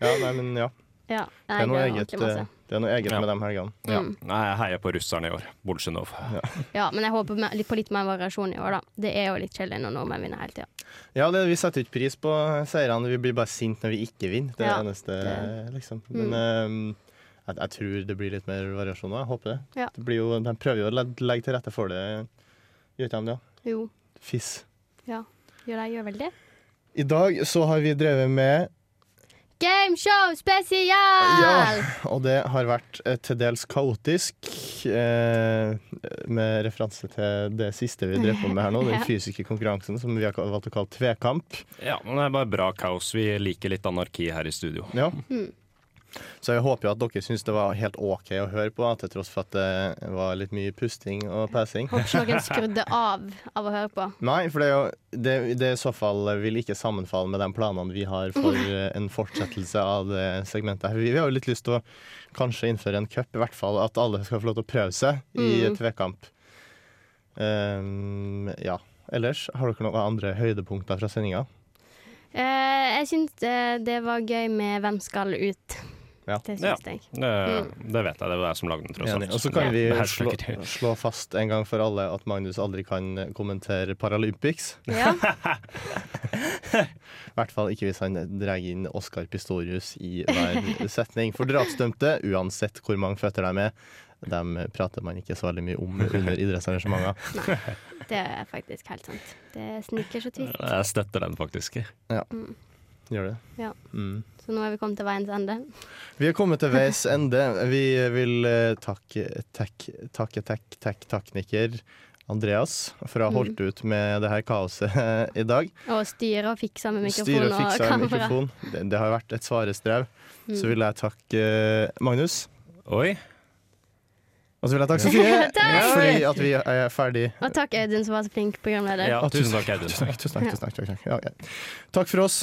Speaker 1: Ja, nei, men ja.
Speaker 3: Ja. Nei,
Speaker 1: Det er noe
Speaker 3: gleder meg
Speaker 1: eget,
Speaker 3: ordentlig masse.
Speaker 1: eh, det er noe eget med de helgene.
Speaker 2: Ja. Nei, jeg heier på russerne i år. Bolsjunov.
Speaker 3: Ja, men jeg håper me- litt på litt mer variasjon i år, da. Det er jo litt kjedelig når nordmenn vinner hele tida.
Speaker 1: Ja, det, vi setter ikke pris på seirene. Vi blir bare sint når vi ikke vinner. Det er
Speaker 3: Ja,
Speaker 1: det eneste,
Speaker 3: det-
Speaker 1: liksom. Men eh, jeg, jeg tror det blir litt mer variasjon nå. Jeg håper det.
Speaker 3: Ja.
Speaker 1: det blir jo, de prøver jo å legge legge til rette for det, gjør ikke de det?
Speaker 3: Jo.
Speaker 1: Fiss.
Speaker 3: Ja. Gjør de gjør vel det?
Speaker 1: I dag så har vi drevet med
Speaker 3: Gameshow spesial!
Speaker 1: Ja, og det har vært eh, til dels kaotisk, eh, med referanse til det siste vi drev på med her nå, den
Speaker 2: Ja.
Speaker 1: fysiske konkurransen som vi har ka- valgt å kalle tvekamp.
Speaker 2: Ja, men det er bare bra kaos. Vi liker litt anarki her i studio.
Speaker 1: Ja.
Speaker 3: Mm.
Speaker 1: Så jeg håper jo at dere syns det var helt OK å høre på, til tross for at det var litt mye pusting og pesing.
Speaker 3: Håper ikke noen skrudde av av å høre på.
Speaker 1: Nei, for det, er jo, det, det i så fall vil ikke sammenfalle med de planene vi har for eh, en fortsettelse av det segmentet. her. Vi, vi har jo litt lyst til å kanskje innføre en cup, i hvert fall at alle skal få lov til å prøve seg i
Speaker 3: Mm.
Speaker 1: tvekamp. Ehm, ja. Ellers, har dere noen andre høydepunkter fra sendinga?
Speaker 3: Eh, jeg syns eh, det var gøy med Hvem skal ut?
Speaker 1: Ja.
Speaker 3: Det syns jeg.
Speaker 2: Det, det vet jeg. Det var jeg som lagde den, tross
Speaker 1: Enig.
Speaker 2: alt.
Speaker 1: Og så kan
Speaker 2: Ja,
Speaker 1: vi
Speaker 2: det er
Speaker 1: slå,
Speaker 2: sikkert-
Speaker 1: slå fast en gang for alle at Magnus aldri kan kommentere Paralympics.
Speaker 3: Ja.
Speaker 1: I hvert fall ikke hvis han drar inn Oscar Pistorius i hver setning. For drapsdømte, uansett hvor mange føtter de er, dem prater man ikke så veldig mye om under idrettsarrangementer.
Speaker 3: Det er faktisk helt sant. Det sniker så tvilt.
Speaker 2: Jeg støtter den, faktisk.
Speaker 1: Ja,
Speaker 3: Mm.
Speaker 1: gjør det.
Speaker 3: Ja.
Speaker 1: Mm.
Speaker 3: Så nå er vi kommet til veiens ende.
Speaker 1: Vi er kommet til veis ende. Vi vil eh, takke tek, takke tek, tek, tekniker Andreas for å ha holdt ut med det her kaoset i dag.
Speaker 3: Og styre og fikse med
Speaker 1: Styre og
Speaker 3: mikrofon og
Speaker 1: fikse en
Speaker 3: kamera.
Speaker 1: mikrofon. Det, det har vært et svarestrev.
Speaker 3: Mm.
Speaker 1: Så vil jeg takke eh, Magnus.
Speaker 2: Oi.
Speaker 1: Og så vil jeg takke Sofie,
Speaker 3: Takk!
Speaker 1: fordi at vi er ferdig.
Speaker 3: Og takk Audun som var så flink programleder.
Speaker 1: Å, tusen takk, Audun. Tusen takk, tusen takk, tusen takk, tusen takk. Ja, ja. Takk for oss.